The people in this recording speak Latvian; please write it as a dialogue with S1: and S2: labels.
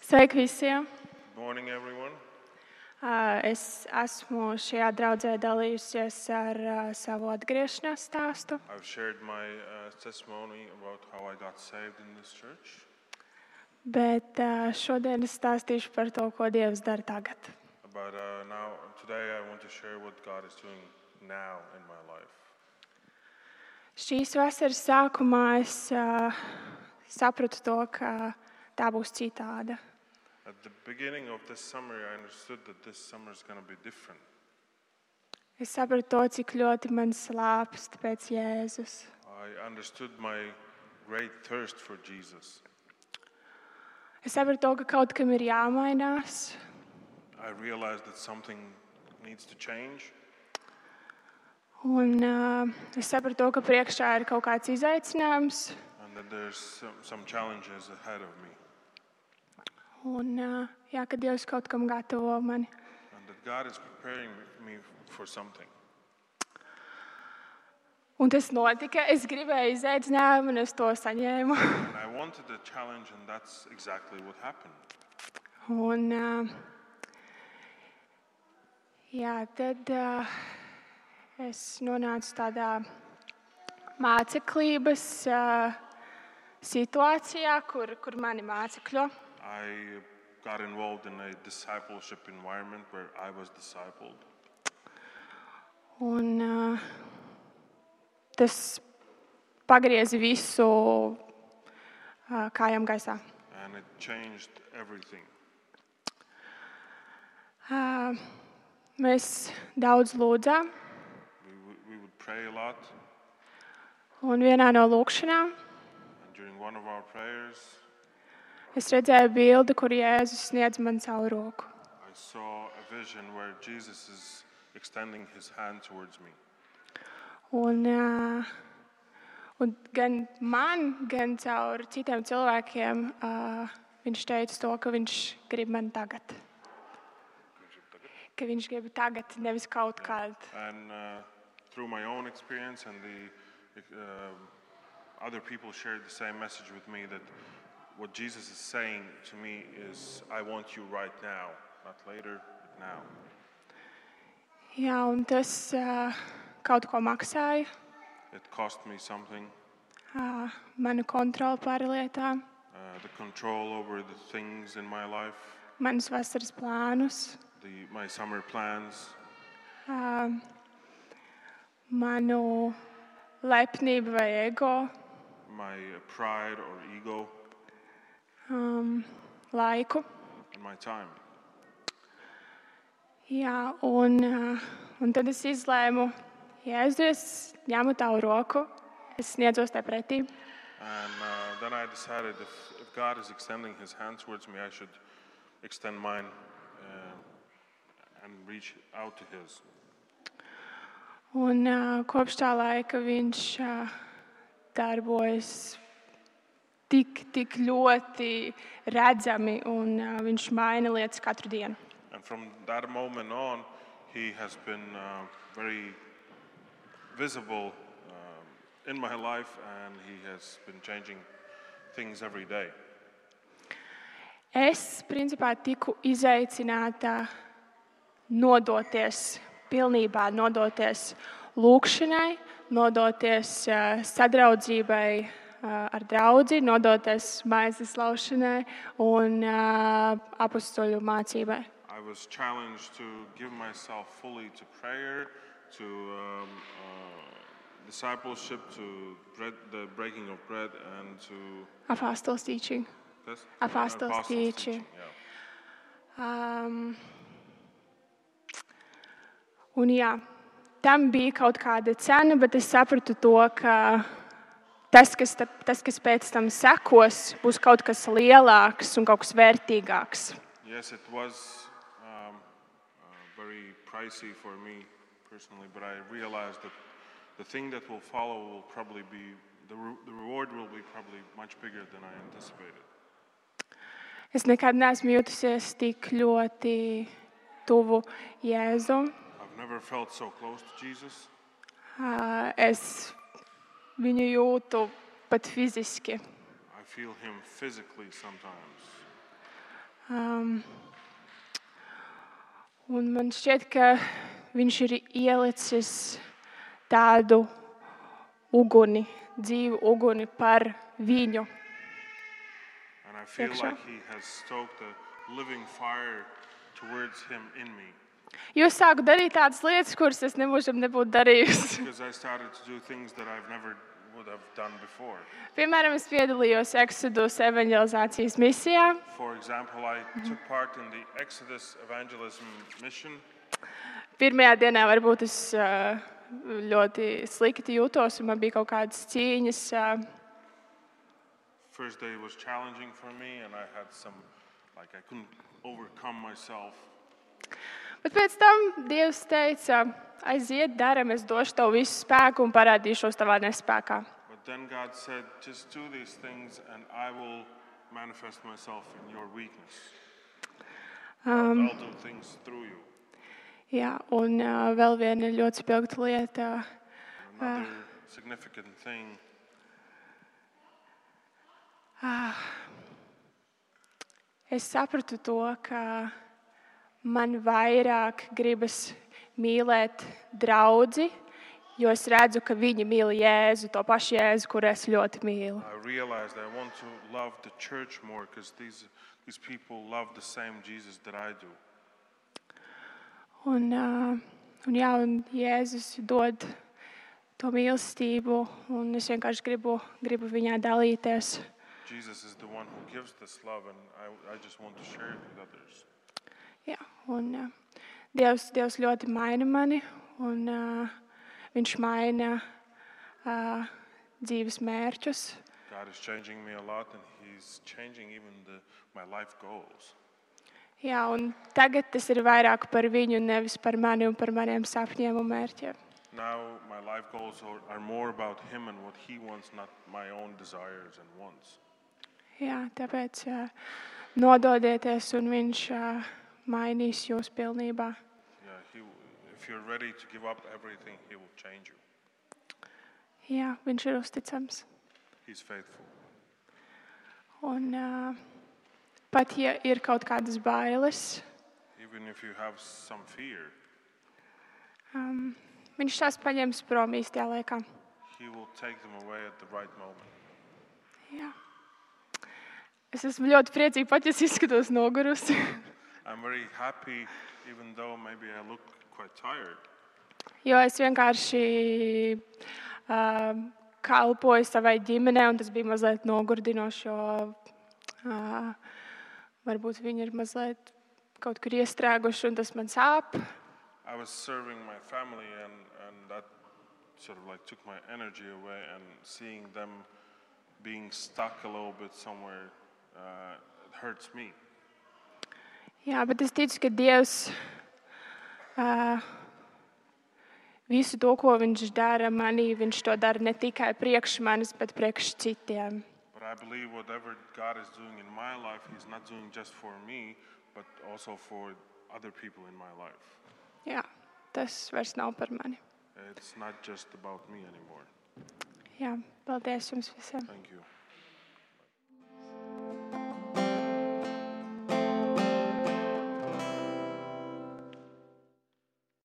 S1: Sveiki visiem!
S2: Morning, everyone.
S1: Ā, Es esmu šajā draudzē dalījusies ar ā, savu atgriešanās stāstu.
S2: I've shared my uh, testimony about how I got saved in this church,
S1: Bet ā, šodien es stāstīšu par to, ko Dievs dara tagad.
S2: but uh, now today I want to share what God is doing now in my life.
S1: Šīs vasaras sākumā es ā, sapratu to, ka tā būs citāda.
S2: At the beginning of this summer, I understood that this summer is going to be different.
S1: Es sapratu to, cik ļoti man slāpst pēc Jēzus.
S2: I understood my great thirst for Jesus.
S1: Es sapratu to, ka kaut kam ir jāmainās.
S2: I realized that something needs to change.
S1: Un ā, es sapratu to, ka priekšā ir kaut kāds izaicinājums.
S2: And that there's some, some challenges ahead of me,
S1: Un, ā, jā, kad Dievs kaut kam gatavo mani.
S2: and that God is preparing me for something.
S1: Un tas notika. Es gribēju izaicinājumu, un es to saņēmu.
S2: And I wanted a challenge, and that's exactly what happened.
S1: Un, ā, jā, tad ā, es nonācu tādā māceklības ā, situācijā, kur, kur mani mācekļo.
S2: I got involved in a discipleship environment where I was discipled.
S1: Un, ā, tas pagrieza visu ā, kājām gaisā.
S2: And it changed everything.
S1: Ā, Mēs daudz lūdzām,
S2: We, w- we would pray a lot,
S1: un vienā no lūkšanām
S2: and during one of our prayers,
S1: es redzēju bildi, kur Jēzus sniedz man savu roku.
S2: I saw a vision where Jesus is extending his hand towards me.
S1: Un, ā, un gan man, gan caur citiem cilvēkiem ā, viņš teica to, ka viņš grib man tagad. Ka viņš grib tagad, nevis kaut kad.
S2: And uh, through my own experience, and the uh, other people shared the same message with me that what Jesus is saying to me is, I want you right now, not later, but now.
S1: Jā, un tas ā, kaut ko maksāja,
S2: It cost me something.
S1: ā, manu kontroli pār lietām,
S2: uh, the control over the things in my life,
S1: manus vasaras plānus.
S2: the, my summer plans,
S1: Ā, manu lepnību vai ego,
S2: my pride or ego,
S1: um, laiku.
S2: and my time.
S1: Jā, un, ā, un tad es izlēmu, ja es dos- ņemu tavu roku, es sniedzos te pretī.
S2: And uh, then I decided if, if God is extending his hand towards me, I should extend mine uh, and reach out to his.
S1: Un ā, kopš tā laika viņš ā, darbojas tik, tik ļoti redzami, un ā, viņš maina lietas katru dienu.
S2: And from that moment on, he has been uh, very visible um, in my life and he has been changing things every day.
S1: Es principā tiku izaicināta nodoties, pilnībā nodoties lūkšanai, nodoties eh, sadraudzībai eh, ar draugu, nodoties maizes laušanai un eh, apakstuļu mācībai.
S2: I was challenged to give myself fully to prayer, to um, uh, discipleship, to bread, the breaking of bread, and to
S1: Apostles teaching.
S2: yes?
S1: Apostles'
S2: Apostles'
S1: teaching.
S2: yeah.
S1: Um, un jā, tam bija kaut kāda cena, bet es sapratu to, ka tas, kas, ta- tas, kas pēc tam sekos, būs kaut kas lielāks un kaut kas vērtīgāks.
S2: Yes, it was um, uh, very pricey for me personally, but I realized that the thing that will follow will probably be the, re- the reward will be probably much bigger than I anticipated.
S1: Es nekad neesmu jutusies tik ļoti tuvu Jēzum.
S2: I've never felt so close to Jesus.
S1: Ā, Es viņu jūtu pat fiziski.
S2: I feel him physically sometimes.
S1: Ā, Um, un man šķiet, ka viņš ir ielicis tādu uguni, dzīvu uguni par viņu.
S2: And I feel
S1: Yakša.
S2: like He has stoked a living fire towards Him in me.
S1: Jūs sākat darīt tādas lietas, kuras es nemūžam nebūtu darījusi.
S2: Because I started to do things that I've never would have done before.
S1: Piemēram, es piedalījos Exodus evanģelizācijas misijā.
S2: For example, I took part in the Exodus evangelism mission.
S1: Pirmajā dienā varbūt es ā, ļoti slikti jutos, un man bija kaut kādas cīņas. ā,
S2: First day was challenging for me, and I had some, like, I couldn't overcome myself.
S1: Bet pēc tam Dievs teica, aiziet, daram, es došu tev visu spēku un parādīšos tavā nespējā.
S2: But then God said, just do these things, and I will manifest myself in your weakness. I'll do things through you.
S1: Jā, un ā, vēl viena ļoti spilgta lieta.
S2: Another significant thing
S1: Es sapratu to, ka man vairāk gribas mīlēt draugu, jo es redzu, ka viņi mīl Jēzu, to pašu Jēzu, kur es ļoti mīlu.
S2: I realized I want to love the church more because these, these people love the same Jesus that I do.
S1: Un, ā, un, jā, un Jēzus dod to mīlestību, un es vienkārši gribu, gribu viņā dalīties.
S2: Jesus is the one who gives this love, and I, I just want to share it with others.
S1: Jā, un, ā, Dievs, Dievs ļoti maina mani, un ā, Viņš maina ā, dzīves mērķus.
S2: God is changing me a lot, and He's changing even the, my life goals.
S1: Jā, un tagad tas ir vairāk par viņu, nevis par mani un par maniem sapņiem un mērķiem.
S2: Now, my life goals are, are more about Him and what He wants, not my own desires and wants.
S1: Jā, tāpēc ā, nododieties, un Viņš ā, mainīs jūs pilnībā.
S2: Yeah, he, will- if you're ready to give up everything, He will change you.
S1: Jā, Viņš ir uzticams.
S2: He's faithful.
S1: Un, ā, pat ja ir kaut kādas bailes,
S2: Even if you have some fear,
S1: um, viņš tās paņems prom īstajā laikā.
S2: He will take them away at the right moment.
S1: Jā. Es esmu ļoti priecīga, pat ja es izskatos nogurusi.
S2: I'm very happy, even though maybe I look quite tired,
S1: Jo es vienkārši uh, kalpoju savai ģimenei, un tas bija mazliet nogurdinoši. Jo, uh, varbūt viņi ir mazliet kaut kur iestrēguši, un tas man sāp.
S2: I was serving my family, and, and that sort of like took my energy away. And seeing them being stuck a little bit somewhere uh, it hurts me.
S1: Jā, bet es ticu, ka Dievs uh, visu to, ko Viņš dara manī, Viņš to dara ne tikai priekš manis, bet priekš citiem.
S2: But I believe whatever God is doing in my life, He's not doing just for me, but also for other people in my life.
S1: Jā, tas vairs nav par mani.
S2: It's not just about me anymore.
S1: Jā, paldies jums visiem!
S2: Thank you.